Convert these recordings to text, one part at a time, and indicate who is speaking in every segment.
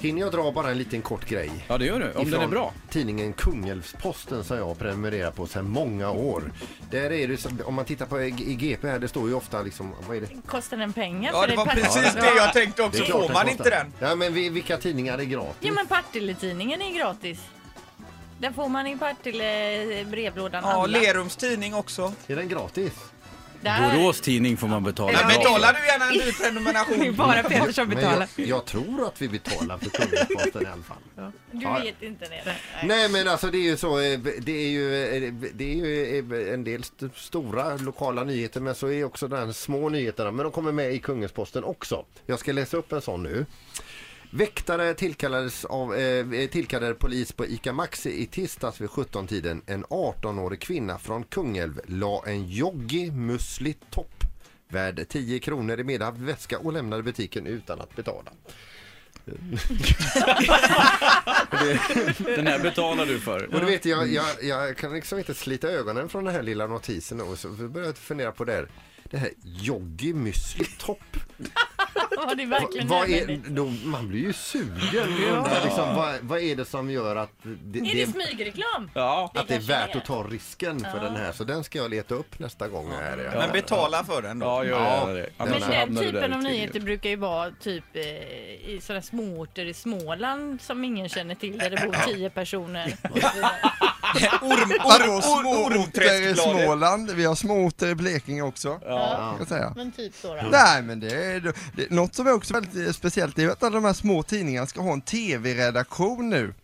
Speaker 1: Hinner jag dra bara en liten kort grej?
Speaker 2: Ja, det gör du. Om den är
Speaker 1: Ifrån
Speaker 2: bra.
Speaker 1: Tidningen Kungälvsposten som jag prenumererar på sedan många år. Där är det, så- om man tittar på i GP här, det står ju ofta liksom, vad är det?
Speaker 3: Kostar den pengar?
Speaker 4: Ja,
Speaker 3: För
Speaker 4: det var
Speaker 3: Partille-
Speaker 4: precis det jag tänkte
Speaker 1: Det
Speaker 4: också.
Speaker 1: är klart
Speaker 4: Får man inte
Speaker 1: kostar.
Speaker 4: den?
Speaker 1: Ja men vi- vilka tidningar är gratis?
Speaker 3: Ja, men Partille-tidningen är gratis. Den får man i Partille brevlådan.
Speaker 4: Ja,
Speaker 3: alla.
Speaker 4: Lerums tidning också.
Speaker 1: Är den gratis?
Speaker 3: Där.
Speaker 2: Borås tidning får man betala.
Speaker 3: Ja,
Speaker 4: Men
Speaker 2: bra
Speaker 4: betalar du gärna en ny
Speaker 3: Det är
Speaker 4: prenumeration?
Speaker 3: bara Peter som
Speaker 1: Men jag,
Speaker 3: betalar.
Speaker 1: jag tror att vi betalar för Kungälvsposten i alla fall.
Speaker 3: Du
Speaker 1: Ja.
Speaker 3: vet inte det. Nej.
Speaker 1: Nej men alltså det är ju så, eh, det är ju, eh, det är ju eh, en del st- stora lokala nyheter men så är också de här små nyheterna, men de kommer med i Kungälvsposten också. Jag ska läsa upp en sån nu. Väktare tillkallades av, eh, tillkallade polis på ICA Maxi i tisdags vid 17-tiden. En 18-årig kvinna från Kungälv la en joggig muslig topp värd 10 kronor i medhavd väska och lämnade butiken utan att betala.
Speaker 2: Den här betalar du för.
Speaker 1: Och du vet, jag, jag, jag kan liksom inte slita ögonen från den här lilla notisen och så började jag fundera på det här. Det här joggi müsli topp.
Speaker 3: Var det verkligen
Speaker 1: Vad är,
Speaker 3: nödvändigt?
Speaker 1: då, man blir ju sugen. och Undrar, liksom, vad, vad är det som gör att det,
Speaker 3: Är liksom det
Speaker 1: det,
Speaker 3: smygreklam?
Speaker 2: Ja.
Speaker 1: att det är
Speaker 3: kanske
Speaker 1: värt att ta risken för den här? Så den ska jag leta upp nästa gång jag är här.
Speaker 4: Men betala för den då.
Speaker 2: Ja, gör gärna det.
Speaker 3: Men
Speaker 2: Annars
Speaker 3: den
Speaker 2: hamnar du där
Speaker 3: typen av
Speaker 2: ute.
Speaker 3: nyheter brukar ju vara typ eh, i sådana småorter i Småland som ingen känner till där det bor tio personer. Och så vidare.
Speaker 4: Orm,
Speaker 5: Hallå,
Speaker 4: orm, orm,
Speaker 5: små orter i
Speaker 4: ormträskbladet.
Speaker 5: Småland, vi har små orter i Blekinge också.
Speaker 3: Ja,
Speaker 5: Kan jag säga.
Speaker 3: men typ så då.
Speaker 5: Nej men det är, det, något som är också väldigt eh, speciellt det är att alla de här små tidningarna ska ha en tv-redaktion nu.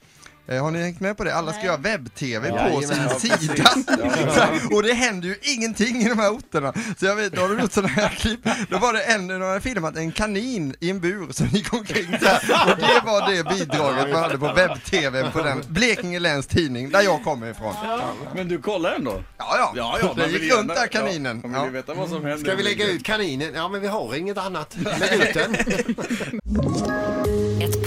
Speaker 5: Eh, har ni hängt med på det? Alla ska
Speaker 3: Nej.
Speaker 5: göra webb-tv
Speaker 1: Ja,
Speaker 5: på
Speaker 1: jajamän,
Speaker 5: sin
Speaker 1: ja,
Speaker 5: sida. och det händer ju ingenting i de här orterna. Så jag vet, då har de gjort sådana här klipp. Då var det en, de har filmat en kanin i en bur som gick omkring där. Och det var det bidraget man hade på webb-tv på den Blekinge Läns Tidning, där jag kommer ifrån.
Speaker 2: Men du kollar ändå?
Speaker 5: Ja, ja.
Speaker 2: man
Speaker 5: den
Speaker 2: vill
Speaker 5: gick
Speaker 2: gärna-
Speaker 5: runt där kaninen.
Speaker 2: Ja, man
Speaker 5: Ja.
Speaker 2: vill ju veta vad
Speaker 3: Mm.
Speaker 2: som händer.
Speaker 1: Ska vi lägga ut kaninen? Ja men vi har inget annat. Lägg ut den.
Speaker 6: Ett